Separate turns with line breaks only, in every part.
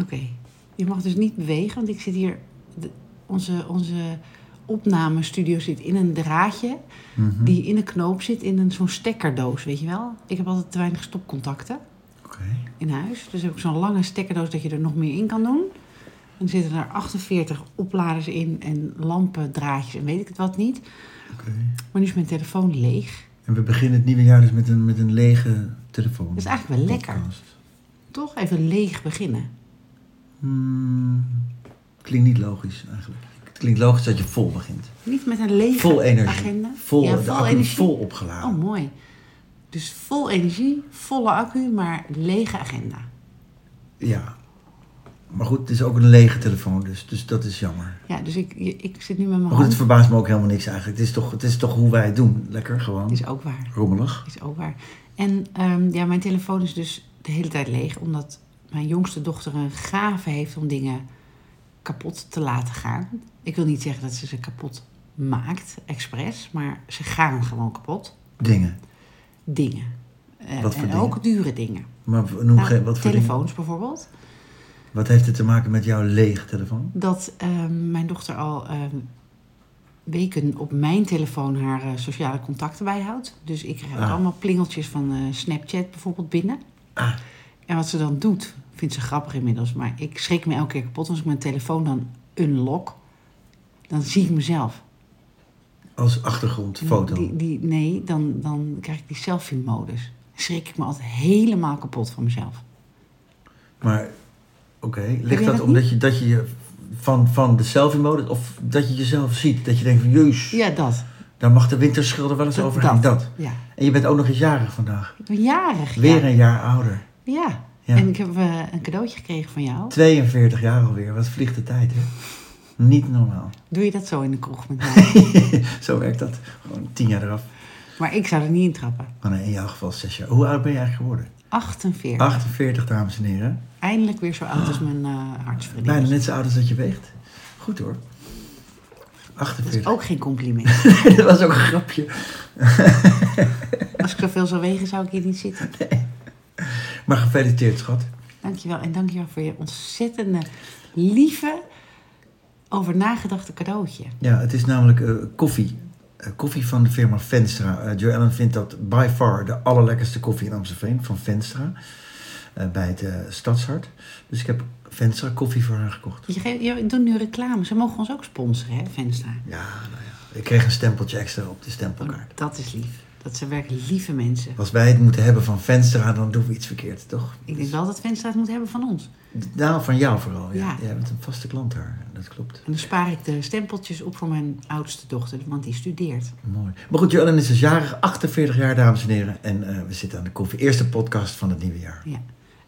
Oké. Je mag dus niet bewegen, want ik zit hier. de- onze, onze opnamestudio zit in een draadje
Mhm.
die in een knoop zit in een, zo'n stekkerdoos, weet je wel? Ik heb altijd te weinig stopcontacten
Oké.
in huis. Dus heb ik zo'n lange stekkerdoos dat je er nog meer in kan doen. Dan zitten er 48 opladers in en lampen, draadjes en weet ik het wat niet.
oké.
Maar nu is mijn telefoon leeg.
En we beginnen het nieuwe jaar dus met een, met een lege telefoon.
Dat is eigenlijk wel lekker.
Podcast.
Toch even leeg beginnen.
Hmm, klinkt niet logisch eigenlijk. Het klinkt logisch dat je vol begint.
Niet met een lege
Vol energie.
agenda.
Vol,
Ja,
de accu vol opgeladen.
Oh, mooi. Dus vol energie, volle accu, maar lege agenda.
Ja. Maar goed, het is ook een lege telefoon dus. Dus dat is jammer.
Ja, dus ik, je- ik zit nu met mijn
Maar goed, het
hand.
verbaast me ook helemaal niks eigenlijk. Het is toch, het is toch hoe wij het doen. Lekker gewoon.
Is ook waar.
Rommelig.
Is ook waar. En ehm, ja, mijn telefoon is dus de hele tijd leeg. Omdat mijn jongste dochter een gave heeft om dingen kapot te laten gaan. Ik wil niet zeggen dat ze ze kapot maakt, expres. Maar ze gaan gewoon kapot.
Dingen.
Dingen. Eh,
Wat voor
en
dingen?
ook dure dingen.
Maar v- noem
Nou,
geen, wat voor
telefoons
dingen?
bijvoorbeeld.
Wat heeft het te maken met jouw lege telefoon?
Dat ehm, mijn dochter al ehm, weken op mijn telefoon haar eh, sociale contacten bijhoudt. Dus ik krijg
Ah.
allemaal plingeltjes van eh, Snapchat bijvoorbeeld binnen.
Ah.
En wat ze dan doet, vindt ze grappig inmiddels. Maar ik schrik me elke keer kapot als ik mijn telefoon dan unlock. Dan zie ik mezelf.
Als achtergrondfoto.
Die, die, nee, dan, dan krijg ik die selfie-modus. Schrik ik me altijd helemaal kapot van mezelf.
Maar oké,
jij
ligt dat
dat
omdat je, dat je je van, van de selfie-modus of dat je jezelf ziet? Dat je denkt van jeus,
Ja, dat.
daar mag de winterschilder wel eens
Dat-
overheen.
dat.
Dat.
Ja.
En je bent ook nog eens jarig vandaag.
Ik ben jarig. ja.
Weer een jaar ouder.
Ja.
Ja.
En ik heb eh, een cadeautje gekregen van jou.
42 jaar alweer, wat vliegt de tijd hè? Niet normaal.
Doe je dat zo in de kroeg met mij?
Zo werkt dat. Gewoon 10 jaar eraf.
maar ik zou er niet in trappen.
Maar nee, in jouw geval 6 jaar. Hoe oud ben je eigenlijk geworden?
48.
Ah. 48, dames en heren.
Eindelijk weer zo oud als mijn eh hartsvriendin.
Bijna net zo oud als dat je weegt. Goed hoor.
Dat is
48.
ook geen compliment.
dat was ook een grapje.
Als ik zoveel zou wegen, zou ik hier niet zitten.
Maar gefeliciteerd, schat.
Dankjewel. En dankjewel voor je ontzettende, lieve, over nagedachte cadeautje.
Ja, het is namelijk eh, koffie. Eh, koffie van de firma Venstra. Eh, Jo Ellen vindt dat by far de allerlekkerste koffie in Amstelveen van Venstra. Eh, bij het eh, Stadshart. Dus ik heb Venstra koffie voor haar gekocht.
Je, ge- je doet nu reclame. Ze mogen ons ook sponsoren, hè, Vensta?
Ja, nou ja. Ik kreeg een stempeltje extra op de stempelkaart.
Dat is lief. Dat ze werken lieve mensen.
Als wij het moeten hebben van Venstra, dan doen we iets verkeerd, toch?
Oh. Ik denk wel dat Vensta het moet hebben van ons.
Nou, van jou vooral. Ja.
Ja.
Jij bent een vaste klant daar. Dat klopt.
En dan spaar ik de stempeltjes op voor mijn oudste dochter, want die studeert.
Mooi. Maar goed, Joellen is dus jarig, 48 jaar, dames en heren. En eh, we zitten aan de koffie. Eerste podcast van het nieuwe jaar.
Ja.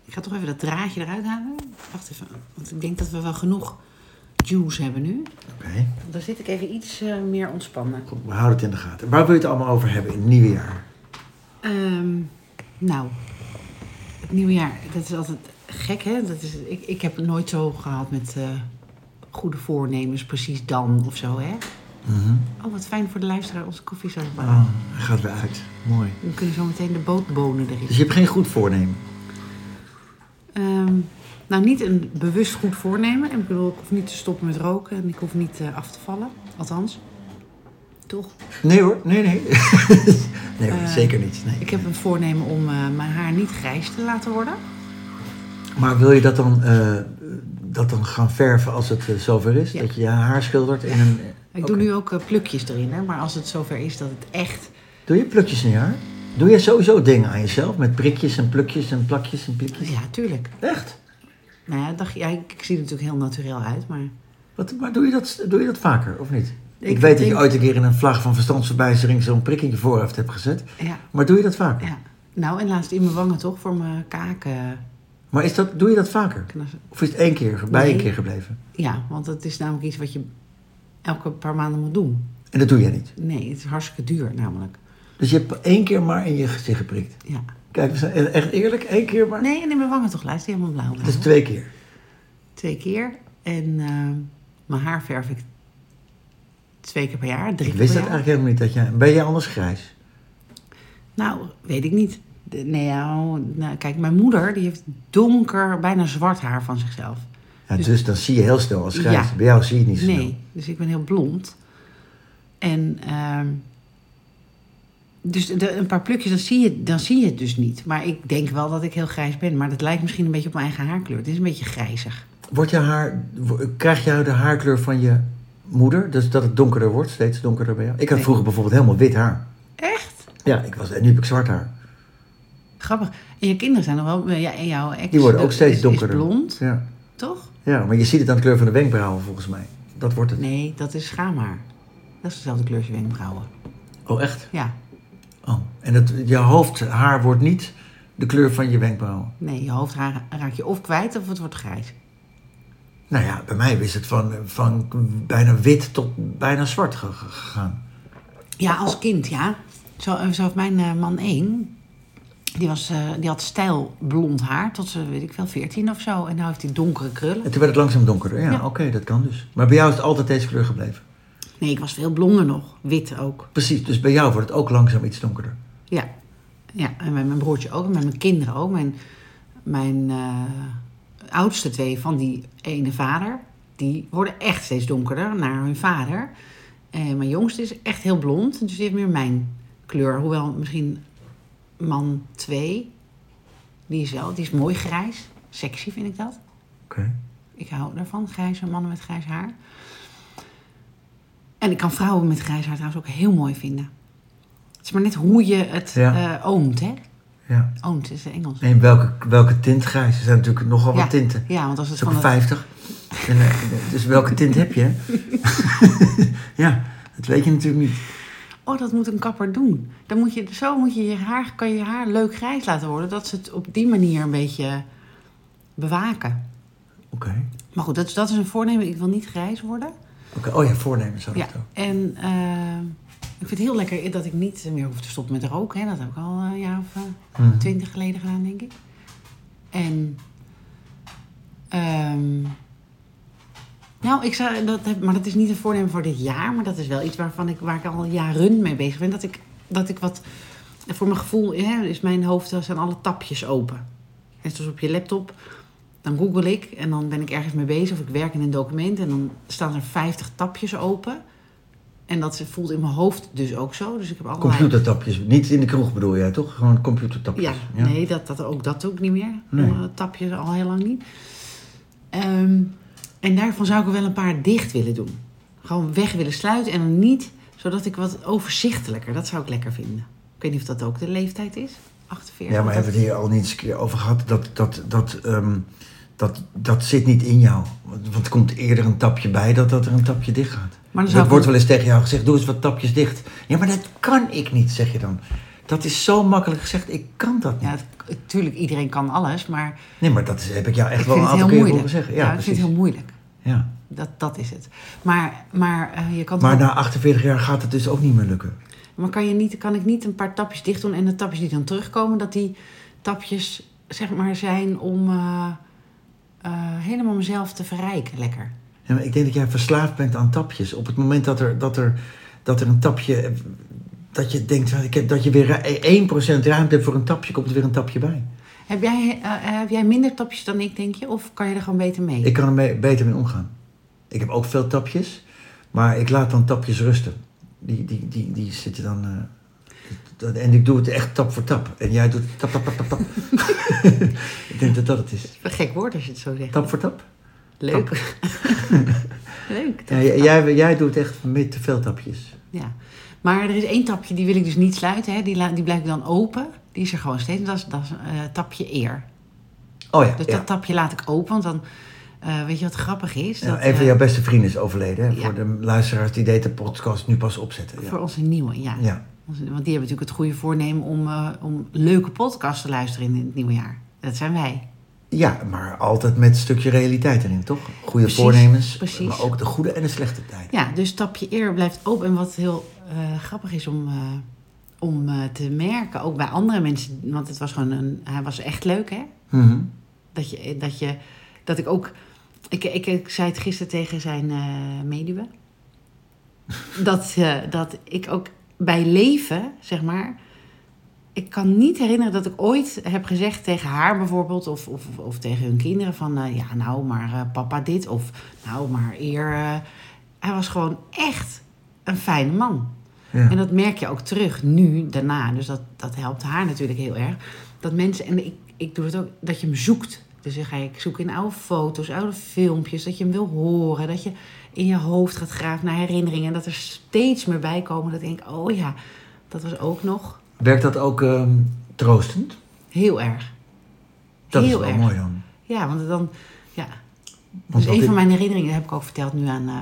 Ik ga toch even dat draadje eruit halen. Wacht even, want ik denk dat we wel genoeg juice hebben nu.
Oké.
Dan zit ik even iets eh, meer ontspannen.
Goed, we houden het in de gaten. Waar wil je het allemaal over hebben in het nieuwe jaar?
Ehm, nou, het nieuwe jaar, dat is altijd gek, hè? Dat is, ik, ik heb het nooit zo gehad met eh, goede voornemens, precies dan of zo, hè? Oh, wat fijn voor de luisteraar, onze koffie zo.
Oh, hij gaat weer uit. Mooi.
We kunnen zo meteen de bootbonen erin.
Dus je hebt geen goed voornemen?
Ehm, nou, niet een bewust goed voornemen. En ik bedoel, ik hoef niet te stoppen met roken en ik hoef niet eh, af te vallen. Althans, toch?
Nee hoor, nee, nee. nee hoor,
Eh,
zeker niet. Nee.
Ik heb een voornemen om eh, mijn haar niet grijs te laten worden.
Maar wil je dat dan, eh, dat dan gaan verven als het eh, zover is?
Ja.
Dat je je haar schildert in een...
Ik doe nu ook eh, plukjes erin, hè? maar als het zover is dat het echt.
Doe je plukjes in je haar? Doe je sowieso dingen aan jezelf? Met prikjes en plukjes en plakjes en plikjes?
Ja, tuurlijk.
Echt?
Nou ja, dacht, ja ik, ik zie er natuurlijk heel natuurlijk uit, maar.
Wat, maar doe je, dat, doe je dat vaker, of niet? Ik,
Ik
weet dat
denk-
je ooit een keer in een vlag van verstandsverbijstering zo'n prik in je voorhoofd hebt gezet.
Ja.
Maar doe je dat vaker?
ja. Nou, en laatst in mijn wangen toch, voor mijn kaken.
Maar is dat, doe je dat vaker?
knassen.
Of is het één keer, bij
Nee.
één keer gebleven?
Ja, want dat is namelijk iets wat je elke paar maanden moet doen.
En dat doe jij niet.
Nee, het is hartstikke duur namelijk.
Dus je hebt één keer maar in je gezicht geprikt.
Ja.
Kijk, we zijn e- echt eerlijk, één keer maar.
Nee, en in mijn wangen toch, luister, helemaal blauw.
Dat is twee keer.
Dus Twee keer. En eh, mijn haar verf ik twee keer per jaar, drie
Ik
keer
wist dat
per jaar.
eigenlijk helemaal niet. Dat jij, ben jij anders grijs?
Nou, weet ik niet. De- Nee, nou, nou, kijk, mijn moeder die heeft donker, bijna zwart haar van zichzelf.
Ja, dus dan zie je heel snel als grijs.
Ja.
Bij jou zie je het nou? niet zo snel.
Nee, dus ik ben heel blond. En ehm, dus de- een paar plukjes, dan zie, je, dan zie je het dus niet. Maar ik denk wel dat ik heel grijs ben. Maar dat lijkt misschien een beetje op mijn eigen haarkleur. Het is een beetje grijzig.
Wordt je haar, wo- krijg jij de haarkleur van je moeder? Dus dat het donkerder wordt, steeds donkerder bij jou? Ik had
Nee.
vroeger bijvoorbeeld helemaal wit haar.
Echt?
Ja, ik was, en nu heb ik zwart haar.
Grappig. En je kinderen zijn nog wel... eh, Ja, en jouw ex
Die worden ook
is-
steeds
is
donkerder.
blond,
Ja.
toch?
ja, maar je ziet het aan de kleur van de wenkbrauwen volgens mij. Dat wordt het.
Nee, dat is schaamhaar. Dat is dezelfde kleurtje wenkbrauwen.
Oh, echt?
Ja,
Oh. En het, je hoofdhaar wordt niet de kleur van je wenkbrauwen.
nee, je hoofdhaar raak je of kwijt of het wordt grijs.
Nou ja, bij mij is het van, van bijna wit tot bijna zwart ge- ge- gegaan.
Ja, als kind, ja. Zo, eh, zo heeft mijn eh, man één. Die, was, eh, die had stijl blond haar tot ze, weet ik wel, 14 of zo. En nu heeft hij donkere krullen.
En toen werd het langzaam donkerder. Ja,
Ja.
oké, dat kan dus. Maar bij jou is het altijd deze kleur gebleven.
Nee, ik was veel blonder nog. Wit ook.
Precies, dus bij jou wordt het ook langzaam iets donkerder.
Ja. Ja, en met mijn broertje ook. En met mijn kinderen ook. Mijn, mijn eh, oudste twee van die ene vader... die worden echt steeds donkerder naar hun vader. En mijn jongste is echt heel blond. Dus die heeft meer mijn kleur. Hoewel misschien man 2... die is wel... die is mooi grijs. Sexy vind ik dat.
Oké.
Ik hou daarvan, grijze mannen met grijs haar. En ik kan vrouwen met grijs haar trouwens ook heel mooi vinden. Het is maar net hoe je het
Ja.
eh, oomt, hè?
Ja.
Oomt is het Engels.
En welke, welke tint grijs? Er zijn natuurlijk nogal
ja.
wat tinten.
Ja, want als
Dat
het
is ook
van
een
het,
50. En, eh, dus welke tint heb je? hè? ja, dat weet je natuurlijk niet.
oh, dat moet een kapper doen. Dan moet je, zo moet je je haar, kan je je haar leuk grijs laten worden. Dat ze het op die manier een beetje bewaken.
Oké.
Maar goed, dat, is- dat is een voornemen. Ik wil niet grijs worden.
Oké, Oh ja, voornemen zou
Ja,
dat ook.
en eh, ik vind het heel lekker dat ik niet meer hoef te stoppen met roken. Hè. Dat heb ik al een jaar of eh,
Mhm.
twintig geleden gedaan, denk ik. En, ehm, nou, ik zou, dat heb, maar dat is niet een voornemen voor dit jaar. Maar dat is wel iets waarvan ik, waar ik al jaren mee bezig ben. Dat ik, dat ik wat, voor mijn gevoel, hè, is mijn hoofd, daar zijn alle tapjes open. Net zoals dus op je laptop. Dan google ik en dan ben ik ergens mee bezig of ik werk in een document en dan staan er 50 tapjes open. En dat voelt in mijn hoofd dus ook zo. Dus ik heb allerlei...
Computertapjes. Niet in de kroeg bedoel jij toch? Gewoon computertapjes.
Ja, nee, dat, dat, ook dat doe ik niet meer.
Nee.
Eh, tap je al heel lang niet. Ehm, en daarvan zou ik er wel een paar dicht willen doen. Gewoon weg willen sluiten en dan niet, zodat ik wat overzichtelijker, dat zou ik lekker vinden. Ik weet niet of dat ook de leeftijd is, 48.
Ja, maar hebben we het hier al niet eens een keer over gehad? Dat, dat, dat, ehm, dat, dat zit niet in jou. Want want er komt eerder een tapje bij dan dat er een tapje dicht gaat.
dan zou
dat
ik-
wordt wel eens tegen jou gezegd, doe eens wat tapjes dicht. Ja, maar dat kan ik niet, zeg je dan. Dat is zo makkelijk gezegd, ik kan dat niet.
Ja, natuurlijk, iedereen kan alles, maar
Nee, maar dat is, heb ik jou echt
ik
wel
vind
een
het
aantal
heel moeilijk.
keer horen zeggen. Ja,
Ja, ik
precies.
vind het heel moeilijk.
ja.
Dat, dat is het. Maar, maar eh, je kan
Maar
toch-
na 48 jaar gaat het dus ook niet meer lukken.
Maar kan, je niet, kan ik niet een paar tapjes dicht doen en de tapjes die dan terugkomen, dat die tapjes zeg maar zijn om eh, eh, helemaal mezelf te verrijken, lekker.
Ja, maar ik denk dat jij verslaafd bent aan tapjes. Op het moment dat er, dat er, dat er een tapje... eh, Dat je denkt, "Ah, ik heb, dat je weer eh, 1% ruimte hebt voor een tapje, komt er weer een tapje bij.
Heb jij, eh, eh, heb jij minder tapjes dan ik, denk je? Of kan je er gewoon beter mee?
Ik kan er mee- beter mee omgaan. Ik heb ook veel tapjes, maar ik laat dan tapjes rusten. Die, die, die, die zitten dan... eh, dat- en ik doe het echt tap voor tap. En jij doet tap, tap, tap, tap, tap. ik denk dat dat het is.
Een gek woord als je het zo zegt.
Tap voor tap.
Leuk. Leuk.
Ja, j- jij, jij doet echt met te veel tapjes.
Ja. Maar er is één tapje, die wil ik dus niet sluiten. Hè. Die, la- die blijft dan open. Die is er gewoon steeds. Dat is, dat is eh, tapje eer.
Oh ja,
Dus
ja.
dat tapje laat ik open, want dan... eh, weet je wat grappig is?
Ja,
Dat,
een van
eh,
jouw beste vrienden is overleden. Hè?
Ja.
Voor de luisteraars die deze podcast nu pas opzetten. Ja.
Voor onze nieuwe, ja.
Ja.
Onze- Want die hebben natuurlijk het goede voornemen om, eh, om leuke podcasts te luisteren in het nieuwe jaar. Dat zijn wij.
ja, maar altijd met een stukje realiteit erin, toch? Goede
Precies,
voornemens,
precies.
maar ook de goede en de slechte tijd.
Ja, dus tapje eer blijft open. En wat heel eh, grappig is om, eh, om eh, te merken, ook bij andere mensen, want het was gewoon een, hij was echt leuk, hè?
Mhm.
Dat, je, dat, je, dat ik ook. Ik, ik, ik zei het gisteren tegen zijn eh weduwe. Dat, eh, dat ik ook bij leven, zeg maar. ik kan niet herinneren dat ik ooit heb gezegd tegen haar bijvoorbeeld, of, of, of tegen hun kinderen: van eh, ja, nou, maar eh, papa dit, of nou, maar eer. eh. hij was gewoon echt een fijne man.
Ja.
En dat merk je ook terug nu, daarna. Dus dat, dat helpt haar natuurlijk heel erg. Dat mensen, en ik, ik doe het ook, dat je hem zoekt. Dus dan ga je zoeken in oude foto's, oude filmpjes. Dat je hem wil horen. Dat je in je hoofd gaat graven naar herinneringen. En dat er steeds meer bij komen. Dat ik denk, oh ja, dat was ook nog
Werkt dat ook ehm, troostend?
heel erg.
Dat
heel
is wel
erg.
mooi dan.
Ja, want dan, ja,
Want
dus
ook
een van
in-
mijn herinneringen heb ik ook verteld nu aan eh,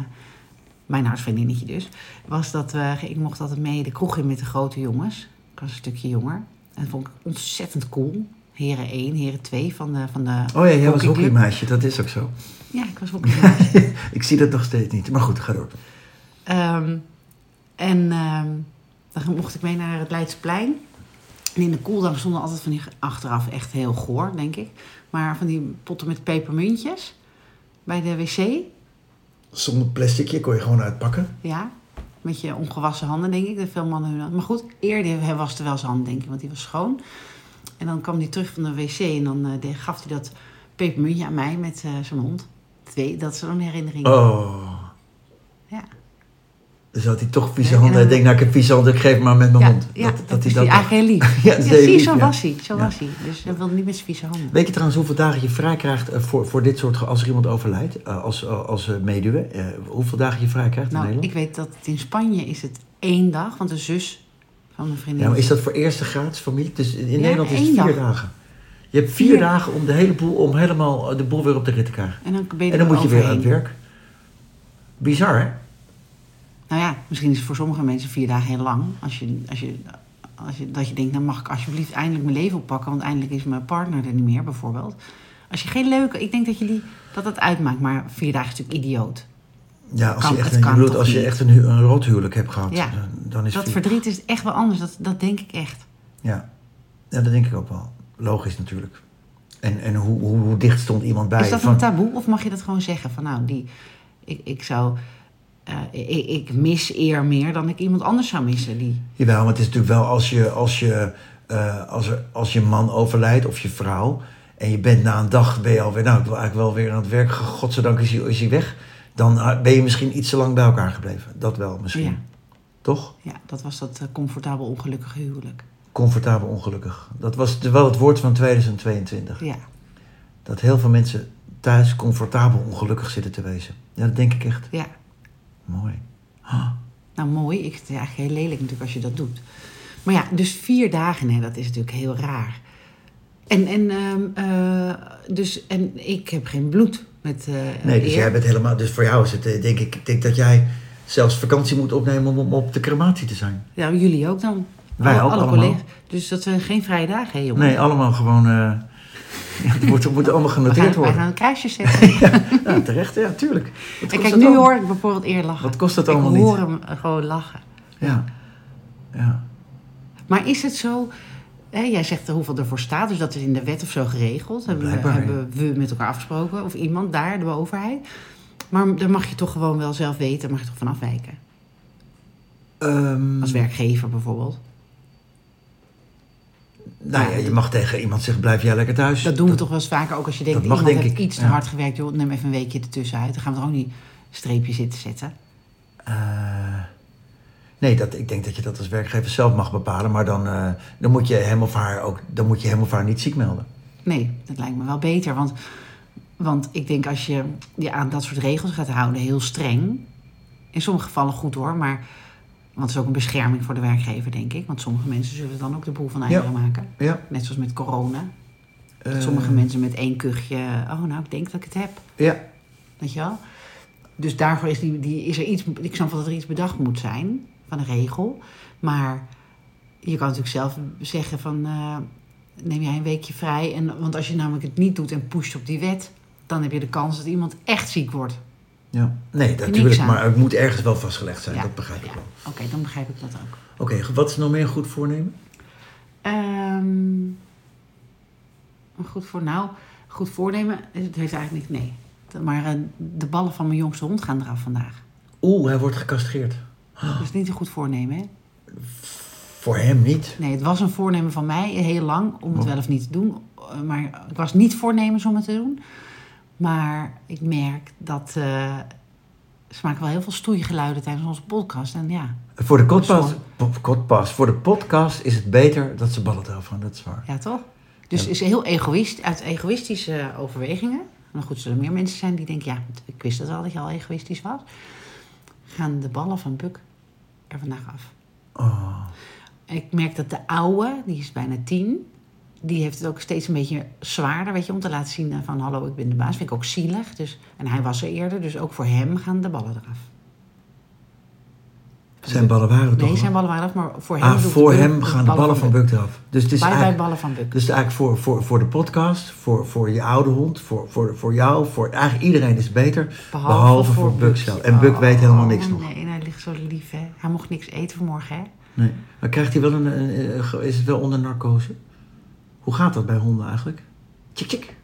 mijn huisvriendinnetje dus. Was dat eh, ik mocht altijd mee de kroeg in met de grote jongens. Ik was een stukje jonger. En dat vond ik ontzettend cool. Heren 1, heren 2 van de, van de
Oh ja, jij was
hockeyclub.
hockeymeisje, dat is ook zo.
Ja, ik was hockeymeisje.
Ik zie dat nog steeds niet. Maar goed, ga door.
Ehm, en ehm, dan mocht ik mee naar het Leidseplein. En in de koeldag stonden altijd van die achteraf echt heel goor, denk ik. Maar van die potten met pepermuntjes bij de wc.
Zonder plasticje kon je gewoon uitpakken.
Ja, met je ongewassen handen, denk ik. Dat veel mannen hun Maar goed, eerder was er wel zijn hand, denk ik, want die was schoon. En dan kwam hij terug van de wc en dan eh, de- gaf hij dat pepermuntje aan mij met eh, zijn mond. Twee, dat is zo'n herinnering.
Oh,
Ja,
dus had hij toch vieze
Nee,
handen.
en-
Hij denkt, nou ik heb vieze handen, ik geef maar met mijn
ja,
mond.
ja, dat, is
hij
die eigenlijk heel lief.
Ja,
ja,
dat is heel
zie, je,
lief,
zo
ja.
was hij. Zo
Ja.
was hij. Dus hij wilde niet met zijn vieze handen.
Weet je trouwens hoeveel dagen je vrij krijgt eh, voor, voor dit soort, ge- als er iemand overlijdt, eh, als, eh, als eh, weduwe, eh, hoeveel dagen je vrij krijgt in
Nou,
Nederland?
ik weet dat het in Spanje is het één dag, want de zus van mijn vriendin...
Ja, maar is dat voor eerste graads familie? Dus in in
Ja,
Nederland is het
één
vier
dag.
dagen. Je hebt vier,
Vier.
dagen om de hele boel, om helemaal eh, de boel weer op de rit te krijgen.
En dan, ben
En dan
er
moet je weer aan
overheen.
het werk. Bizar, hè?
Nou ja, misschien is het voor sommige mensen vier dagen heel lang. Als je, als je, als je, dat je denkt, nou mag ik alsjeblieft eindelijk mijn leven oppakken, want eindelijk is mijn partner er niet meer, bijvoorbeeld. Als je geen leuke, ik denk dat je die, dat, dat uitmaakt, maar vier dagen is natuurlijk idioot.
Ja, als
Kan-
je echt,
het
een,
kan
je bedoelt,
toch
als je
niet?
echt een, hu- een rothuwelijk hebt gehad,
Ja.
dan, dan is
Dat
het...
verdriet is echt wel anders, dat, dat denk ik echt.
Ja. ja, dat denk ik ook wel. Logisch natuurlijk. En, en hoe, hoe, hoe dicht stond iemand bij
Is
je?
dat
Van-
een taboe of mag je dat gewoon zeggen? Van nou, die, ik, ik zou, eh, ik, ik mis eer meer dan ik iemand anders zou missen. Die,
Jawel, maar het is natuurlijk wel als je, als je, eh, als er, als je man overlijdt of je vrouw. En je bent na een dag, ben je alweer, nou ik wil eigenlijk wel weer aan het werk. Godzijdank is hij, is hij weg. Dan eh, ben je misschien iets te lang bij elkaar gebleven. Dat wel misschien.
Ja.
Toch?
ja, dat was dat eh, comfortabel ongelukkige huwelijk.
Comfortabel ongelukkig. Dat was de- wel het woord van 2022.
Ja.
Dat heel veel mensen thuis comfortabel ongelukkig zitten te wezen. Ja, dat denk ik echt.
Ja,
Mooi.
nou mooi. Ik vind het eigenlijk heel lelijk natuurlijk als je dat doet. Maar ja, dus vier dagen, hè, dat is natuurlijk heel raar. En, en, ehm, eh, dus, en ik heb geen bloed met eh
Nee, dus
eer.
jij bent helemaal. Dus voor jou is het, eh, denk ik, ik denk dat jij zelfs vakantie moet opnemen om, om op de crematie te zijn.
Nou, jullie ook dan.
Wij
Alle-
ook
alle
allemaal.
collega's. Dus dat zijn geen vrije dagen, hè jongen.
Nee, allemaal gewoon. eh, ja, het wordt, het wordt allemaal
We
genoteerd
gaan, wij
worden.
gaan een kruisje zetten.
Ja, terecht, ja, tuurlijk. Wat
en
kost
kijk,
het
nu
allemaal?
hoor ik bijvoorbeeld eer lachen.
Wat kost dat allemaal
Ik hoor
niet?
hem eh, gewoon lachen.
Ja. ja.
Maar is het zo... Hè, jij zegt hoeveel ervoor staat, dus dat is in de wet of zo geregeld. Hebben, we,
Blijkbaar, ja.
hebben we met elkaar afgesproken, of iemand daar, de overheid. Maar daar mag je toch gewoon wel zelf weten, mag je toch van afwijken.
Ehm,
Als werkgever bijvoorbeeld.
nou ja, je mag tegen iemand zeggen: blijf jij lekker thuis.
Dat doen we toch wel eens vaker, ook als je denkt,
dat mag,
iemand
denk
heeft
ik,
iets te
ja.
hard gewerkt. Joh, neem even een weekje ertussenuit, dan gaan we er ook niet streepje zitten zetten.
Eh, nee, dat, ik denk dat je dat als werkgever zelf mag bepalen. Maar dan, eh, dan moet je hem of haar ook. Dan moet je hem of haar niet ziek melden.
Nee, dat lijkt me wel beter, want, want ik denk als je je aan dat soort regels gaat houden, heel streng. In sommige gevallen goed hoor, maar... Want het is ook een bescherming voor de werkgever, denk ik. Want sommige mensen zullen dan ook de boel van eieren maken.
Ja.
Net zoals met corona. Dat
eh,
sommige mensen met één kuchje... Oh, nou, ik denk dat ik het heb.
Ja,
Weet je wel? Dus daarvoor is, die, die, is er iets... Ik snap wel dat er iets bedacht moet zijn van een regel. Maar je kan natuurlijk zelf zeggen van... eh, neem jij een weekje vrij. En, want als je namelijk het niet doet en pusht op die wet... dan heb je de kans dat iemand echt ziek wordt.
Ja, nee, natuurlijk.
aan.
Maar het moet ergens wel vastgelegd zijn.
Ja.
Dat begrijp ik
Ja.
wel.
Oké, dan begrijp ik dat ook.
Oké, wat is nog meer een goed voornemen?
Ehm, een goed voor nou, goed voornemen. Het heeft eigenlijk niet. Nee. Maar eh, de ballen van mijn jongste hond gaan eraf vandaag.
Oeh, hij wordt gecastreerd.
Dat is niet een goed voornemen, hè?
Voor hem niet.
Nee, het was een voornemen van mij heel lang om het
Oh.
wel of niet te doen. Eh, Maar ik was niet voornemens om het te doen. Maar ik merk dat eh, ze maken wel heel veel stoeigeluiden tijdens onze podcast. En ja,
Voor de podcast, po- podcast- voor de podcast is het beter dat ze ballen van dat is waar.
ja toch? Dus het is heel egoïst, uit egoïstische overwegingen. Maar goed, zullen er meer mensen zijn die denken, ja, ik wist het wel dat je al egoïstisch was. Gaan de ballen van Buk er vandaag af.
Oh,
Ik merk dat de oude, die is bijna tien, die heeft het ook steeds een beetje zwaarder, weet je, om te laten zien van hallo, ik ben de baas. Vind ik ook zielig. Dus, en hij was er eerder, dus ook voor hem gaan de ballen eraf.
zijn ballen waren er toch?
Nee,
al?
zijn ballen waren eraf, maar voor hem.
ah,
doet
voor
Buk
hem gaan de ballen van Buck eraf. Dus het is
Bye bye
eigenlijk,
ballen van Buk.
dus het is eigenlijk voor, voor, voor de podcast, voor, voor je oude hond, voor, voor, voor jou, voor eigenlijk iedereen is het beter. Behalve, voor, Buck zelf. En Buck weet helemaal niks
Oh,
nog.
Nee, en hij ligt zo lief, hè. Hij mocht niks eten vanmorgen, hè.
Nee. Maar krijgt hij wel een, een- een- ge- is het wel onder narcose? Hoe gaat dat bij honden eigenlijk? Tjik, tjik.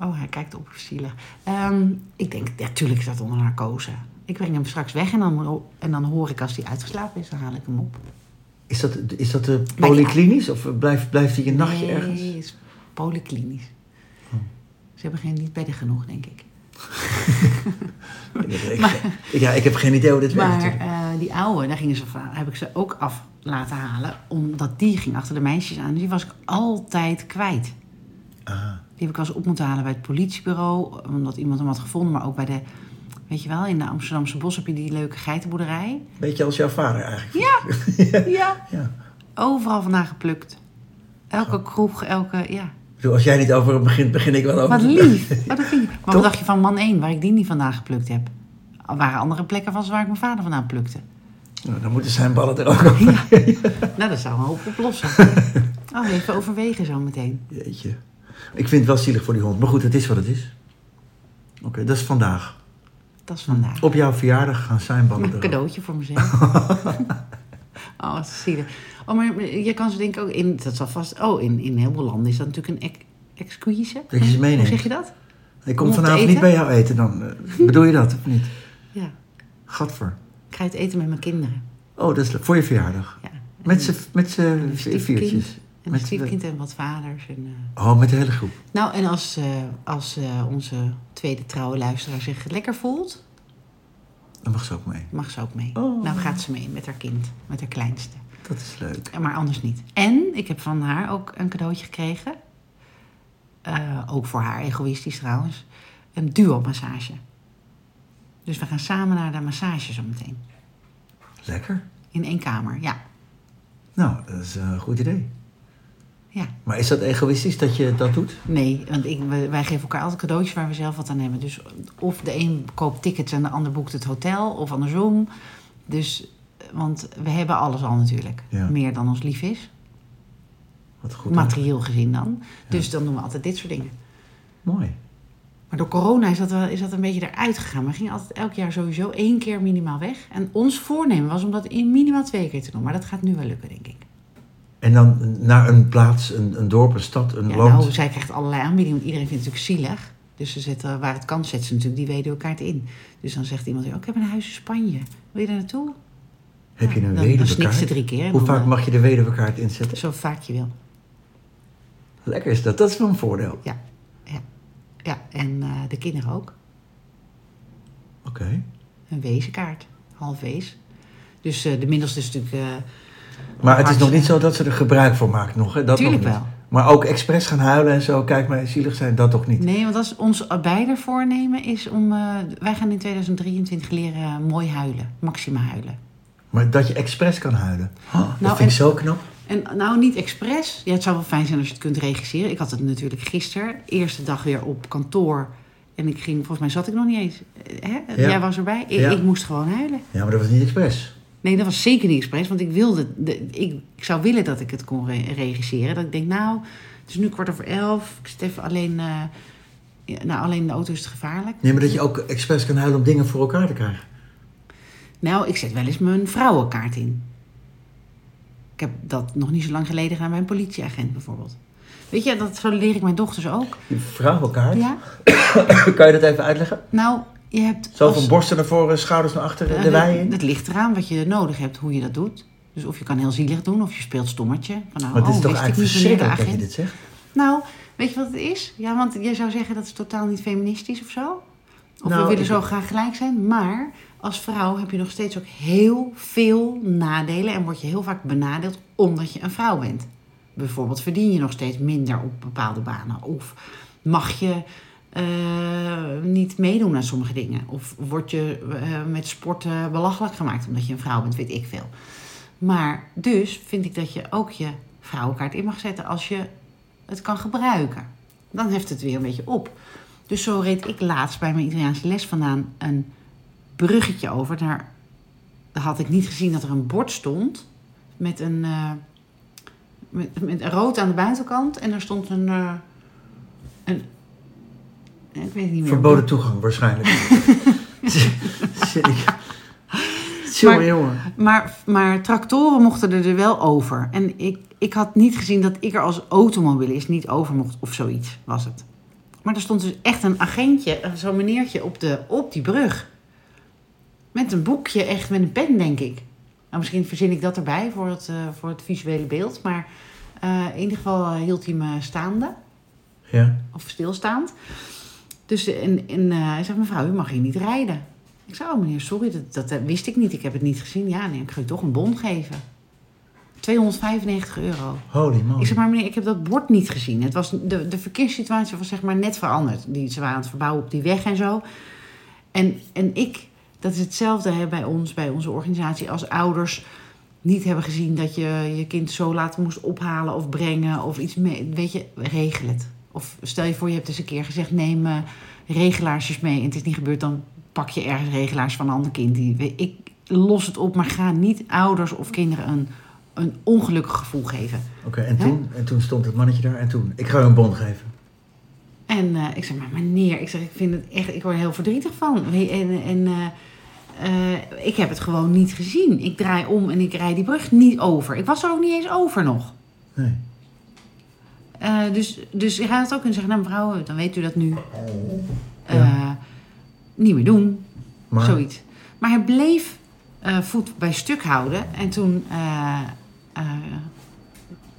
Oh, hij kijkt op zielig. Ehm, ik denk, ja, tuurlijk is dat onder narcose. Ik breng hem straks weg en dan, en dan hoor ik als hij uitgeslapen is, dan haal ik hem op.
Is dat, is dat eh, polyklinisch of blijft, blijft hij een nachtje
nee,
ergens? Oh.
het is polyklinisch. Ze hebben geen niet bedden genoeg, denk ik.
Ik, ik- ik- ja, ik heb geen idee hoe dit werkt.
Maar
natuurlijk.
eh, die oude, daar gingen ze van, heb ik ze ook af laten halen. Omdat die ging achter de meisjes aan. Dus die was ik altijd kwijt.
Ah,
Die heb ik wel eens op moeten halen bij het politiebureau. Omdat iemand hem had gevonden. Maar ook bij de, weet je wel, in de Amsterdamse bos heb je die leuke geitenboerderij.
beetje als jouw vader eigenlijk.
Ja, ja.
Ja.
Overal vandaan geplukt. Elke kroeg, elke, ja.
Ik bedoel, als jij niet over hem begint, begin ik wel over
Wat
te-
lief. Wat een vriendje. Maar
Oh.
wat
Toch?
dacht je van man 1, waar ik die niet vandaan geplukt heb? Er waren andere plekken van waar ik mijn vader vandaan plukte.
Nou, dan moeten zijn ballen er ook op.
Nou, dat zou een hoop oplossen. Oh, even overwegen zo meteen.
Jeetje. Ik vind het wel zielig voor die hond. Maar goed, het is wat het is. Oké, dat is vandaag.
Dat is vandaag.
Op jouw verjaardag gaan zijn ballen
Een
erop.
cadeautje voor mezelf. oh, wat zielig. Oh, maar je kan ze denk ik ook in, dat zal vast, oh, in, in heel veel landen is dat natuurlijk een ec- excuse.
Dat je ze meeneemt.
Hoe zeg je dat?
Ik
Om
kom
op te
vanavond niet
eten?
bij jou eten dan. Eh, Bedoel je dat of niet?
Ja.
Gadver.
Ik ga het eten met mijn kinderen.
Oh, dat is leuk. voor je verjaardag.
Ja.
Met z'n met z'n
Stiefkind.
viertjes.
En een
Met-
stiefkind en wat vaders. En, eh,
Oh, met de hele groep.
Nou, en als, eh, als eh, onze tweede trouwe luisteraar zich lekker voelt,
Dan mag ze ook mee.
mag ze ook mee.
Oh.
Nou gaat ze mee met haar kind, met haar kleinste.
Dat is leuk.
Eh, Maar anders niet. En ik heb van haar ook een cadeautje gekregen. Eh, ook voor haar, egoïstisch trouwens. Een duo-massage. Dus we gaan samen naar de massage zometeen.
Lekker.
In één kamer, ja.
Nou, dat is eh, een goed idee.
ja.
Maar is dat egoïstisch dat je dat doet?
Nee, want ik, we- wij geven elkaar altijd cadeautjes waar we zelf wat aan hebben. Dus of de een koopt tickets en de ander boekt het hotel, of andersom. Dus, want we hebben alles al natuurlijk.
Ja.
Meer dan ons lief is,
Wat goed. hè?
materieel gezien dan. Dus dan doen we altijd dit soort dingen.
Mooi.
Maar door corona is dat, wel, is dat een beetje eruit gegaan. We gingen altijd elk jaar sowieso één keer minimaal weg. En ons voornemen was om dat in minimaal twee keer te doen. Maar dat gaat nu wel lukken, denk ik.
En dan naar een plaats, een, een dorp, een stad, een
Ja,
land.
nou, zij krijgt allerlei aanbiedingen, want iedereen vindt het natuurlijk zielig. Dus ze zetten, waar het kan, zetten ze natuurlijk die weduwkaart in. Dus dan zegt iemand, oh, ik heb een huis in Spanje. Wil je daar naartoe?
Heb je
Ja,
een
dan- dan snikt
weduwkaart?
ze drie keer en
Hoe
dan,
vaak
eh,
mag je de weduwkaart inzetten?
Zo vaak je wil.
Lekker is dat. Dat is wel een voordeel. Oké.
Ja, ja. ja. en eh, de kinderen ook. Een wezenkaart, half wees. Dus eh, de middelste is natuurlijk... eh,
Maar het is nog
Hartstikke.
niet zo dat ze er gebruik van maakt nog. Hè? Dat
Tuurlijk
nog niet.
wel.
Maar ook expres gaan huilen en zo. Kijk maar, zielig zijn, dat toch niet.
Nee, want dat is ons beider voornemen is om... eh, wij gaan in 2023 leren mooi huilen. Maxima huilen.
Maar dat je expres kan huilen. Oh, dat
Nou,
vind ik
en-
zo knap.
En nou, niet expres. Ja, het zou wel fijn zijn als je het kunt regisseren. Ik had het natuurlijk gisteren, eerste dag weer op kantoor. En ik ging, volgens mij zat ik nog niet eens. Eh, Hè?
Ja.
Jij was erbij. Ik,
Ja.
ik moest gewoon huilen.
Ja, maar dat was niet expres.
Nee, dat was zeker niet expres, want ik wilde, de- ik, ik zou willen dat ik het kon re- regisseren. Dat ik denk, nou, het is nu kwart over elf. Ik zit even alleen, eh, ja, nou, alleen in de auto is het gevaarlijk.
Nee, maar dat je ook expres kan huilen om dingen voor elkaar te krijgen.
Nou, ik zet wel eens mijn vrouwenkaart in. Ik heb dat nog niet zo lang geleden gedaan bij een politieagent bijvoorbeeld. Weet je, dat zo leer ik mijn dochters ook.
Die vrouwenkaart.
Ja,
kan je dat even uitleggen?
nou, je hebt...
Zo
als-
van borsten naar voren, eh, schouders naar achteren,
eh,
de
dat-
wei in.
Dat ligt eraan wat je nodig hebt, hoe je dat doet. Dus of je kan heel zielig doen, of je speelt stommetje. Van, nou,
Maar het is
oh,
toch
wist ik
eigenlijk
niet wanneer de
verschrikkelijk dat je
agent-
dit zegt?
Nou, weet je wat het is? Ja, want jij zou zeggen dat is totaal niet feministisch of zo. Of
Nou,
we willen
ik-
zo graag gelijk zijn. Maar als vrouw heb je nog steeds ook heel veel nadelen. En word je heel vaak benadeeld omdat je een vrouw bent. Bijvoorbeeld verdien je nog steeds minder op bepaalde banen. Of mag je eh, niet meedoen aan sommige dingen. Of word je eh, met sporten belachelijk gemaakt omdat je een vrouw bent, weet ik veel. Maar dus vind ik dat je ook je vrouwenkaart in mag zetten als je het kan gebruiken. Dan heft het weer een beetje op. Dus zo reed ik laatst bij mijn Italiaanse les vandaan een bruggetje over. Daar had ik niet gezien dat er een bord stond met een eh, met, met rood aan de buitenkant en er stond een, eh, een ik weet het niet meer.
Verboden toegang waarschijnlijk. Zit ik. Jongen,
Maar-
jongen.
Maar, maar tractoren mochten er, er wel over. En ik, ik had niet gezien dat ik er als automobilist niet over mocht of zoiets was het. Maar er stond dus echt een agentje, eh, zo'n meneertje op, de, op die brug. Met een boekje, echt met een pen, denk ik. Nou, misschien verzin ik dat erbij voor het, eh, voor het visuele beeld. Maar eh, in ieder geval eh, hield hij me staande
Ja.
of stilstaand. Dus eh, en, en eh, hij zegt, mevrouw, u mag hier niet rijden. Ik zei, oh meneer, sorry, dat, dat eh, wist ik niet. Ik heb het niet gezien. Ja, nee, ik ga u toch een bon geven. 295 euro.
Holy man.
Ik zeg maar, meneer, ik heb dat bord niet gezien. Het was, de, de verkeerssituatie was zeg maar net veranderd. Die, ze waren aan het verbouwen op die weg en zo. En, en ik, dat is hetzelfde hè, bij ons, bij onze organisatie, als ouders niet hebben gezien dat je je kind zo laat moest ophalen of brengen of iets mee. Weet je, regel het. Of stel je voor, je hebt eens een keer gezegd: neem eh, regelaarsjes mee en het is niet gebeurd, dan pak je ergens regelaars van een ander kind. Die, we- ik los het op, maar ga niet ouders of kinderen een, een ongelukkig gevoel geven.
Oké, en, toen, en toen stond het mannetje daar en toen. Ik ga je een bon geven.
En eh, ik zeg, maar meneer, ik zeg, ik vind het echt, ik word er heel verdrietig van. We- En, en eh, eh, ik heb het gewoon niet gezien. Ik draai om en ik rijd die brug niet over. Ik was er ook niet eens over nog.
Nee.
Eh, dus, dus je gaat het ook kunnen zeggen, nou mevrouw, dan weet u dat nu. Eh, Niet meer doen,
Maar,
zoiets. Maar hij bleef eh, voet bij stuk houden. En toen... eh, eh,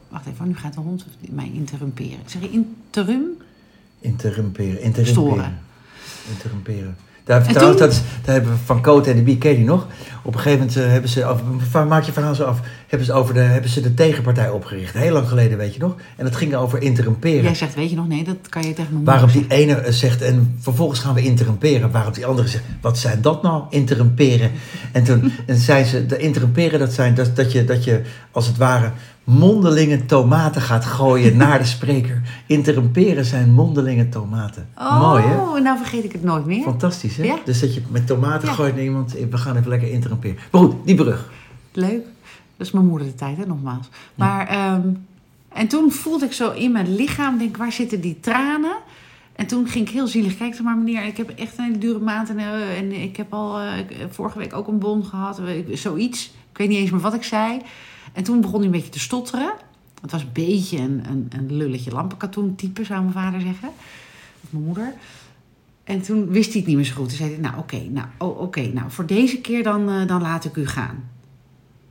wacht even, oh, nu gaat de hond mij interrumperen. Ik zeg, interrum?
Interrumperen, interrumperen.
Storen.
Interrumperen. Daar,
En
trouwens,
toen-
dat, is- daar hebben we Van Koot en de Bie, ken je die nog? Op een gegeven moment eh, hebben ze, af- va- maak je verhaal zo af, hebben ze, over de, hebben ze de tegenpartij opgericht. Heel lang geleden, weet je nog? En dat ging over interrumperen.
Jij zegt, weet je nog, nee, dat kan je tegen mijn moeder
Waarop die ene eh, zegt, en vervolgens gaan we interrumperen. Waarop die andere zegt, wat zijn dat nou, interrumperen? En toen en zei ze, de interrumperen dat zijn dat, dat, je, dat je als het ware mondelinge tomaten gaat gooien naar de spreker. Interrumperen zijn mondelinge tomaten.
Oh,
Mooi hè?
nou vergeet ik het nooit meer.
Fantastisch hè?
Ja.
Dus dat je met tomaten
Ja.
gooit naar iemand, eh, we gaan even lekker interrumperen. Maar goed, die brug.
Leuk. Dat is mijn moeder de tijd, hè, nogmaals. Maar, ehm, en toen voelde ik zo in mijn lichaam, denk waar zitten die tranen? En toen ging ik heel zielig kijken, Ik zeg, maar meneer, ik heb echt een hele dure maand. En, eh, en ik heb al eh, ik- eh, vorige week ook een bon gehad, eh, ik- zoiets. Ik weet niet eens meer wat ik zei. En toen begon hij een beetje te stotteren. Het was een beetje een, een, een lulletje lampenkatoen type, zou mijn vader zeggen. Of mijn moeder. En toen wist hij het niet meer zo goed. Toen zei hij, nou oké, nou, oh, oké, nou voor deze keer dan, eh, dan laat ik u gaan.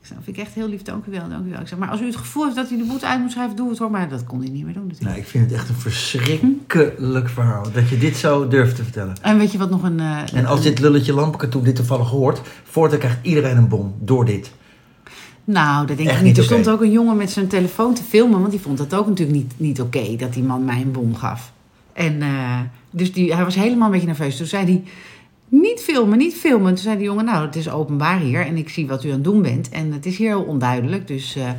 Ik zei, dat vind ik echt heel lief, dank u wel, dank u wel. Ik zeg, maar als u het gevoel heeft dat u de boete uit moet schrijven, doe het hoor. Maar dat kon hij niet meer doen natuurlijk.
Nou, ik vind het echt een verschrikkelijk verhaal. Dat je dit zo durft te vertellen.
En weet je wat nog een... eh,
En als dit lulletje lampenkatoen dit toevallig hoort, voortaan krijgt iedereen een bom door dit.
Nou, dat denk
Echt
ik niet.
niet
Er
oké.
stond ook een jongen met zijn telefoon te filmen, want die vond dat ook natuurlijk niet, niet oké dat die man mij een bom gaf. En eh, dus die, hij was helemaal een beetje nerveus. Toen zei hij: Niet filmen, niet filmen. Toen zei die jongen: Nou, het is openbaar hier en ik zie wat u aan het doen bent. En het is hier heel onduidelijk. Dus, eh,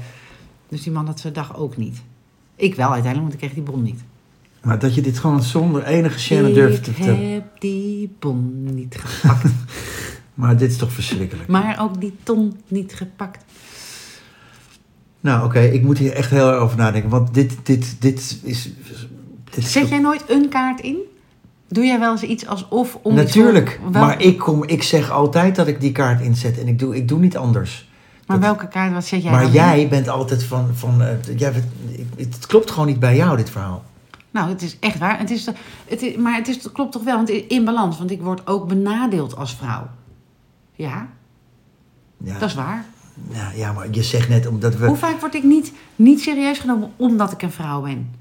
dus die man had zijn dag ook niet. Ik wel uiteindelijk, want ik kreeg die bom niet.
Maar dat je dit gewoon zonder enige scène durft te
ik
vertellen.
heb die bom niet gepakt.
Maar dit is toch verschrikkelijk.
maar ook die ton niet gepakt.
Nou, oké, ik moet hier echt heel erg over nadenken. Want dit, dit, dit is. Dit is
Zet jij nooit een kaart in? Doe jij wel eens iets alsof om iets
Natuurlijk,
voor- wel-
maar ik, kom, ik zeg altijd dat ik die kaart inzet en ik doe, ik doe niet anders.
maar
dat-
welke kaart, wat zet jij
maar
dan in?
jij bent altijd van. van eh, jij, bent- ik- het klopt gewoon niet bij jou, dit verhaal.
Nou, het is echt waar. Het is, het is, maar het, is, het klopt toch wel, want in balans. Want ik word ook benadeeld als vrouw. Ja,
Ja,
dat is waar.
Nou ja, maar je zegt net omdat we...
Hoe vaak word ik niet, niet serieus genomen omdat ik een vrouw ben?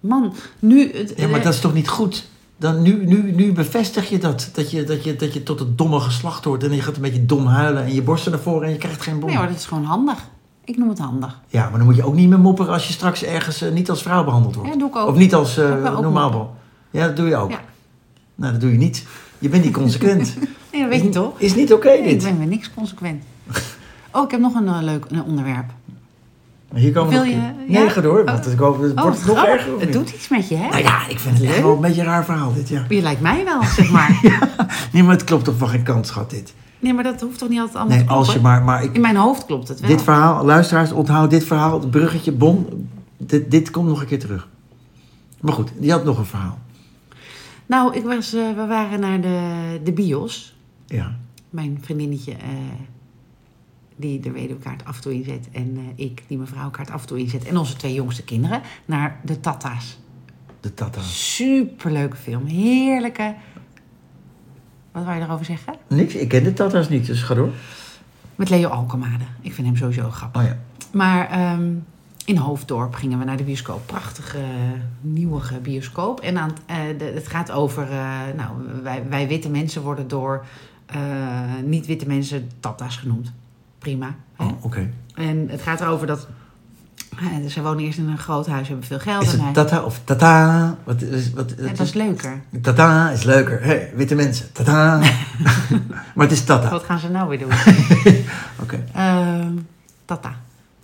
Man, nu... Het, eh,
Ja, maar dat is toch niet goed? Dan, nu, nu, nu bevestig je dat. Dat je, dat, je, dat je tot het domme geslacht hoort. En je gaat een beetje dom huilen. En je borsten naar voren en je krijgt geen bon.
Nee hoor, dat is gewoon handig. Ik noem het handig.
Ja, maar dan moet je ook niet meer mopperen als je straks ergens eh, niet als vrouw behandeld wordt.
Ja, doe ik ook.
Of niet als eh,
Ik ben ook
normaal
moe.
be- Ja, dat doe je ook.
Ja.
Nou, dat doe je niet. Je bent niet consequent.
Nee, dat weet je toch?
Is niet oké
Nee, ik
dit.
ben weer niks consequent. Oh, ik heb nog een eh, leuk een onderwerp.
Hier komen we
Wil
nog
je-
een keer.
ja?
Nee, ga door. Want ik hoop, het
Oh,
wordt
wat
nog
grappig.
erger. of
Het
niet?
doet iets met je, hè?
Nou ja, ik vind het echt
Leuk.
wel een beetje een raar verhaal dit, ja.
Je lijkt mij wel, zeg maar.
Nee, maar het klopt toch van geen kant, schat, dit.
Nee, maar dat hoeft toch niet altijd allemaal
Nee,
te
als je
kloppen?
maar... maar ik,
In mijn hoofd klopt het wel.
Dit verhaal, luisteraars, onthoud dit verhaal, het bruggetje, bon, dit, dit komt nog een keer terug. Maar goed, je had nog een verhaal.
Nou, ik was, eh, we waren naar de, de bios.
Ja.
Mijn vriendinnetje, eh, die de weduwkaart af en toe inzet. En eh, ik, die mijn vrouwkaart af en toe inzet. En onze twee jongste kinderen naar de Tata's.
De Tata.
Superleuke film. Heerlijke. Wat wou je erover zeggen?
Niks, ik ken de Tata's niet, dus ga door.
Met Leo Alkemade. Ik vind hem sowieso grappig.
Oh ja.
Maar ehm, in Hoofddorp gingen we naar de bioscoop. Prachtige, nieuwe bioscoop. En aan, het- eh, de- het gaat over... eh, nou, wij, wij witte mensen worden door eh, niet-witte mensen tata's genoemd. Prima. hè?
Oh, oké.
En het gaat erover dat... eh, ze wonen eerst in een groot huis, hebben veel geld.
Is
en hij-
het Tata of Tata? Wat is, wat,
Ja, dat is leuker.
Tata is leuker. Hé, witte mensen. Tata. maar het is Tata. Oké.
Wat gaan ze nou weer doen? Ehm, tata.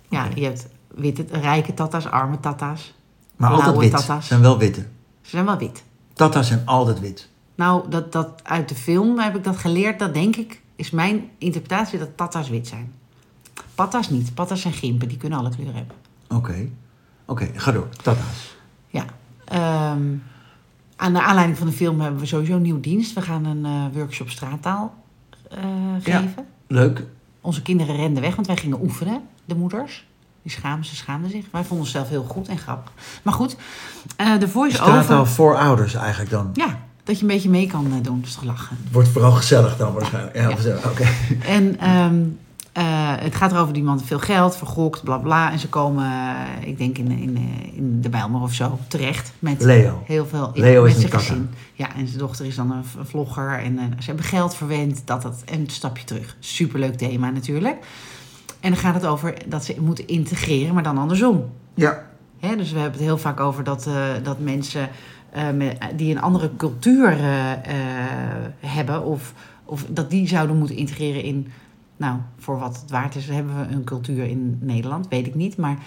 Ja,
Oké.
je hebt witte, rijke tata's, arme tata's.
Maar
Blauwe
altijd wit.
Tata's.
Zijn wel witte.
Ze zijn wel wit.
Tata's zijn altijd wit.
Nou, dat, dat, uit de film heb ik dat geleerd. Dat denk ik, is mijn interpretatie dat tata's wit zijn. Patta's niet. Patta's zijn gimpen. Die kunnen alle kleuren hebben.
Oké. Oké, ga door. Tata's.
Ja. Ehm, aan de aanleiding van de film hebben we sowieso een nieuw dienst. We gaan een eh, workshop straattaal eh,
Ja.
geven.
Leuk.
Onze kinderen renden weg, want wij gingen oefenen, de moeders. Die schaamden, ze schaamden zich. Wij vonden onszelf heel goed en grappig. Maar goed, eh, de
Staat al
voice-over...
voor ouders eigenlijk dan.
Ja, dat je een beetje mee kan eh, doen, dus toch lachen.
Wordt vooral gezellig dan waarschijnlijk. Ja,
Ja.
gezellig. Oké.
En ehm, eh, het gaat erover die man veel geld, vergokt, bla bla. En ze komen, eh, ik denk in, in, eh, in de Bijlmer of zo, terecht met
Leo.
heel veel.
Leo
met
is
zijn
een tata.
gezin. Ja, en zijn dochter is dan een v- een vlogger. En eh, ze hebben geld verwend, dat, dat. En een stapje terug. Superleuk thema natuurlijk. En dan gaat het over dat ze moeten integreren, maar dan andersom.
Ja.
Hè, dus we hebben het heel vaak over dat, eh, dat mensen eh, me- die een andere cultuur eh, eh, hebben, of, of dat die zouden moeten integreren in, nou, voor wat het waard is, hebben we een cultuur in Nederland, weet ik niet. Maar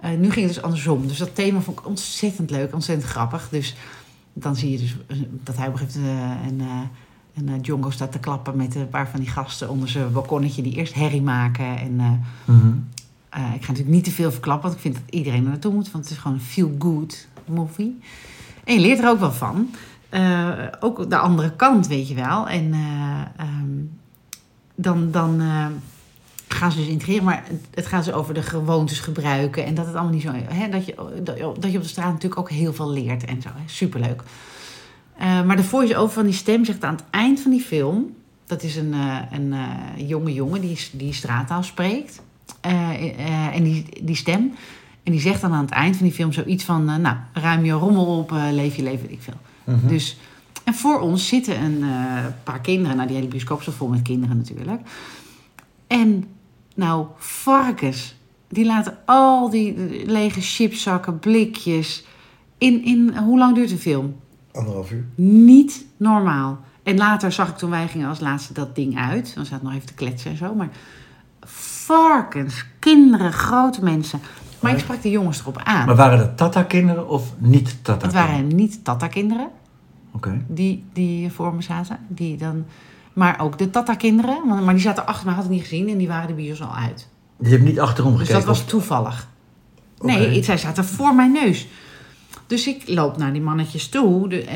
eh, nu ging het dus andersom. Dus dat thema vond ik ontzettend leuk, ontzettend grappig. Dus dan zie je dus eh, dat hij op een gegeven moment eh, een. eh, een eh, Django staat te klappen met een paar van die gasten onder zijn balkonnetje die eerst herrie maken. En eh,
Mhm.
eh, ik ga natuurlijk niet te veel verklappen, want ik vind dat iedereen er naartoe moet. Want het is gewoon een feel-good movie. En je leert er ook wel van. Eh, ook de andere kant, weet je wel. En eh, ehm, dan, dan eh, gaan ze dus integreren. Maar het, het gaat dus over de gewoontes gebruiken. En dat het allemaal niet zo... Hè, dat, je, dat, je- dat je op de straat natuurlijk ook heel veel leert en zo. Hè. Superleuk. Eh, maar de voice-over van die stem zegt aan het eind van die film... Dat is een, eh, een eh, jonge jongen die, die straattaal spreekt. Eh, eh, en die, die stem. En die zegt dan aan het eind van die film zoiets van... eh, nou, ruim je rommel op, eh, leef je leven, weet ik veel.
Mhm.
Dus, en voor ons zitten een eh, paar kinderen. Nou, die hele bioscoop zat vol met kinderen natuurlijk. En nou, varkens. Die laten al die eh, lege chipszakken, blikjes... In, in, hoe lang duurt een film?
Anderhalf uur.
Niet normaal. En later zag ik toen wij gingen als laatste dat ding uit. Dan zat nog even te kletsen en zo. Maar varkens, kinderen, grote mensen. Maar ik sprak de jongens erop aan.
Maar waren dat Tata-kinderen of niet Tata?
Het waren niet Tata-kinderen
Oké.
die, die voor me zaten. Die dan, maar ook de Tata-kinderen. want- Maar die zaten achter me, had ik niet gezien. En die waren de bios al uit.
Je hebt niet achterom
Dus
gekeken.
dat was
of-
toevallig.
Oké.
Nee, ik- zij zaten voor mijn neus. Dus ik loop naar die mannetjes toe. De, eh,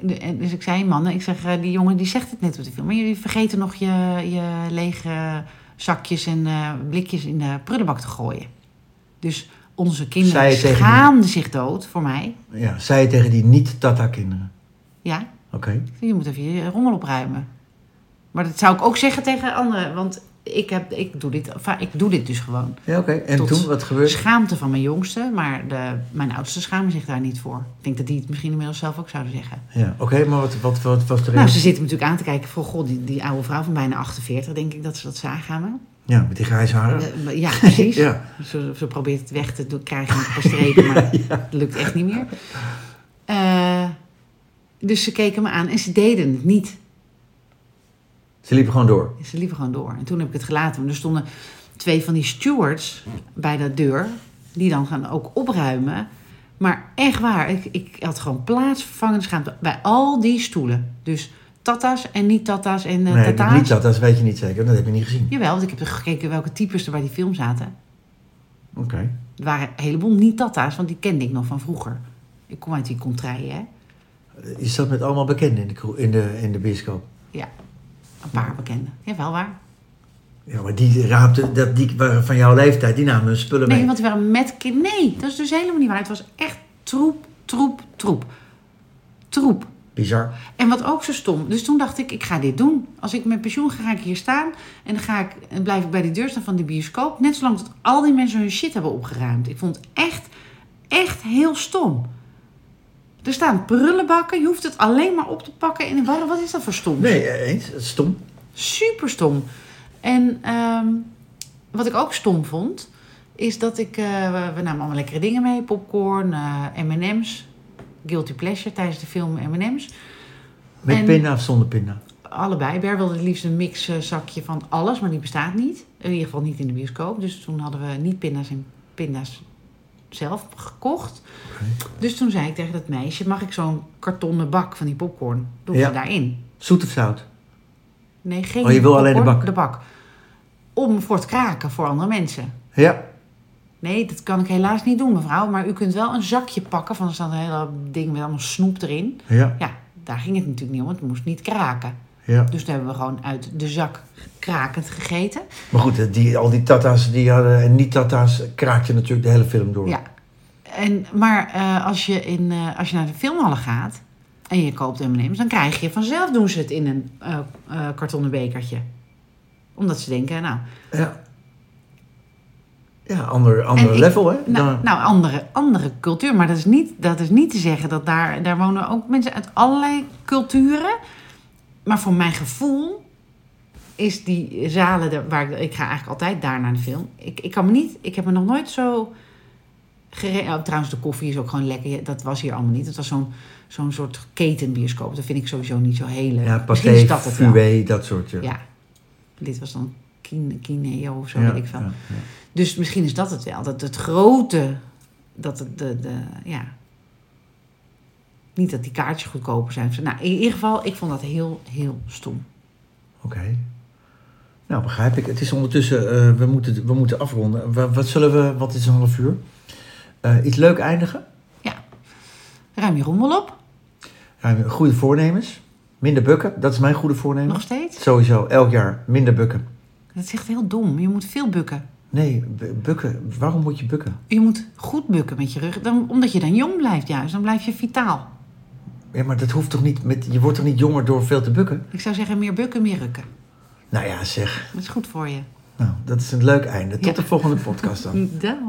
de- en dus ik zei, mannen, ik zeg, eh, die jongen die zegt het net op de film. Maar jullie vergeten nog je, je lege zakjes en eh, blikjes in de prullenbak te gooien. Dus onze
Zei
kinderen
je tegen die-
schaamden zich dood voor mij.
Ja, zei je tegen die niet Tata-kinderen.
Ja,
Oké.
ik zeg, je moet even je rommel opruimen. Maar dat zou ik ook zeggen tegen anderen. Want ik, heb, ik, doe dit, enfin, ik doe dit dus gewoon.
Ja, oké. En
Tot-
toen, wat
De
gebeurde?
schaamte van mijn jongste, maar de, mijn oudste schamen zich daar niet voor. Ik denk dat die het misschien inmiddels zelf ook zouden zeggen.
Ja, oké, maar wat, wat, wat was de
Nou,
reactie?
ze zitten me natuurlijk aan te kijken van, god, die, die oude vrouw van bijna 48, denk ik dat ze dat zagen aan me.
Ja, met die grijze haren.
Eh, maar Ja, precies.
Ja.
Ze, ze probeert het weg te doen, krijgen met een paar streken, maar het lukt echt niet meer. Eh, dus ze keken me aan en ze deden het niet.
Ze liepen gewoon door.
Ze liepen gewoon door. En toen heb ik het gelaten. Want er stonden twee van die stewards bij dat deur, die dan gaan ook opruimen. Maar echt waar, ik, ik had gewoon plaatsvervangend schaamte bij al die stoelen. Dus tata's en niet-tata's en eh
nee,
tata's.
niet dat, dat weet je niet zeker. Dat heb je niet gezien.
Jawel, want ik heb gekeken welke types er bij die film zaten.
Oké.
Er waren een heleboel niet-tata's, want die kende ik nog van vroeger. Ik kom uit die contraille, hè?
Je zat met allemaal bekenden in de, kro- in de, in de bioscoop.
Ja, een paar bekende. Ja, wel waar.
Ja, maar die raapte, dat, die waren van jouw leeftijd, die namen hun spullen mee.
Nee, want we waren met kind. Nee, dat is dus helemaal niet waar. Het was echt troep, troep, troep. Troep.
Bizar.
En wat ook zo stom. Dus toen dacht ik, ik ga dit doen. Als ik met pensioen ga, ga ik hier staan. En dan ga ik, en blijf ik bij die deur staan van de bioscoop. Net zolang tot al die mensen hun shit hebben opgeruimd. Ik vond het echt, echt heel stom. Er staan prullenbakken. Je hoeft het alleen maar op te pakken. En waarom- wat is dat voor stom?
Nee, eh, eens. Dat is Stom.
Super stom. En ehm, wat ik ook stom vond, is dat ik. eh, we- we namen allemaal lekkere dingen mee: popcorn, eh, MM's. Guilty pleasure tijdens de film MM's.
Met
En-
pinda of zonder pinda?
Allebei. Ber wilde het liefst een mixzakje van alles, maar die bestaat niet. In ieder geval niet in de bioscoop. Dus toen hadden we niet pinda's en pinda's zelf gekocht. Dus toen zei ik tegen dat meisje: Mag ik zo'n kartonnen bak van die popcorn? Doe
Ja.
ze daarin.
Zoet of zout?
Nee, geen.
Oh, je wil alleen de
popcorn,
bak.
De bak. Om voor het kraken voor andere mensen.
Ja.
Nee, dat kan ik helaas niet doen, mevrouw. Maar u kunt wel een zakje pakken. Van er staat een hele ding met allemaal snoep erin.
Ja.
Ja, daar ging het natuurlijk niet om. want Het moest niet kraken.
Ja.
Dus toen hebben we gewoon uit de zak krakend gegeten.
Maar goed, eh, die, al die tata's die hadden, en niet-tata's kraakten natuurlijk de hele film door.
Ja. En, maar eh, als, je in, eh, als je naar de filmhallen gaat en je koopt M&M's... dan krijg je vanzelf doen ze het in een eh, eh, kartonnen bekertje. Omdat ze denken, nou,
Ja, ja ander, ander
En ik-
level, hè?
Nou,
Daar-
nou, andere, andere cultuur. Maar dat is, niet, dat is niet te zeggen dat daar, daar wonen ook mensen uit allerlei culturen. Maar voor mijn gevoel is die zalen daar- waar ik, ik ga eigenlijk altijd daar naar de film. Ik, ik kan me niet, ik heb me nog nooit zo. Gere- oh, trouwens, de koffie is ook gewoon lekker. Ja, Dat was hier allemaal niet. Het was zo'n zo'n soort ketenbioscoop. Dat vind ik sowieso niet zo heel leuk.
ja,
Misschien is
paté,
dat het wel.
fouet, dat soort. Ja,
Ja. Dit was dan Kine- Kineo of zo,
Ja,
weet ik veel.
ja, ja.
Dus misschien is dat het wel. Dat het grote, dat het de, de ja. Niet dat die kaartjes goedkoper zijn. Nou, in ieder geval, ik vond dat heel, heel stom.
Oké. Nou, begrijp ik. Het is ondertussen, eh, we, moeten, we moeten afronden. Wa- wat zullen we, wat is een half uur? Eh, iets leuk eindigen?
Ruim je rommel op,
Ruim- Goede voornemens. Minder bukken, dat is mijn goede voornemen.
nog steeds.
Sowieso, elk jaar minder bukken.
Dat is echt heel dom. Je moet veel bukken.
Nee, bu- bukken. Waarom moet je bukken?
Je moet goed bukken met je rug. Dan, omdat je dan jong blijft juist. Dan blijf je vitaal.
Ja, maar dat hoeft toch niet met, je wordt toch niet jonger door veel te bukken?
Ik zou zeggen, meer bukken, meer rukken.
Nou ja, zeg.
Dat is goed voor je.
Nou, dat is een leuk einde. Tot
Ja.
de volgende podcast dan.
Dag.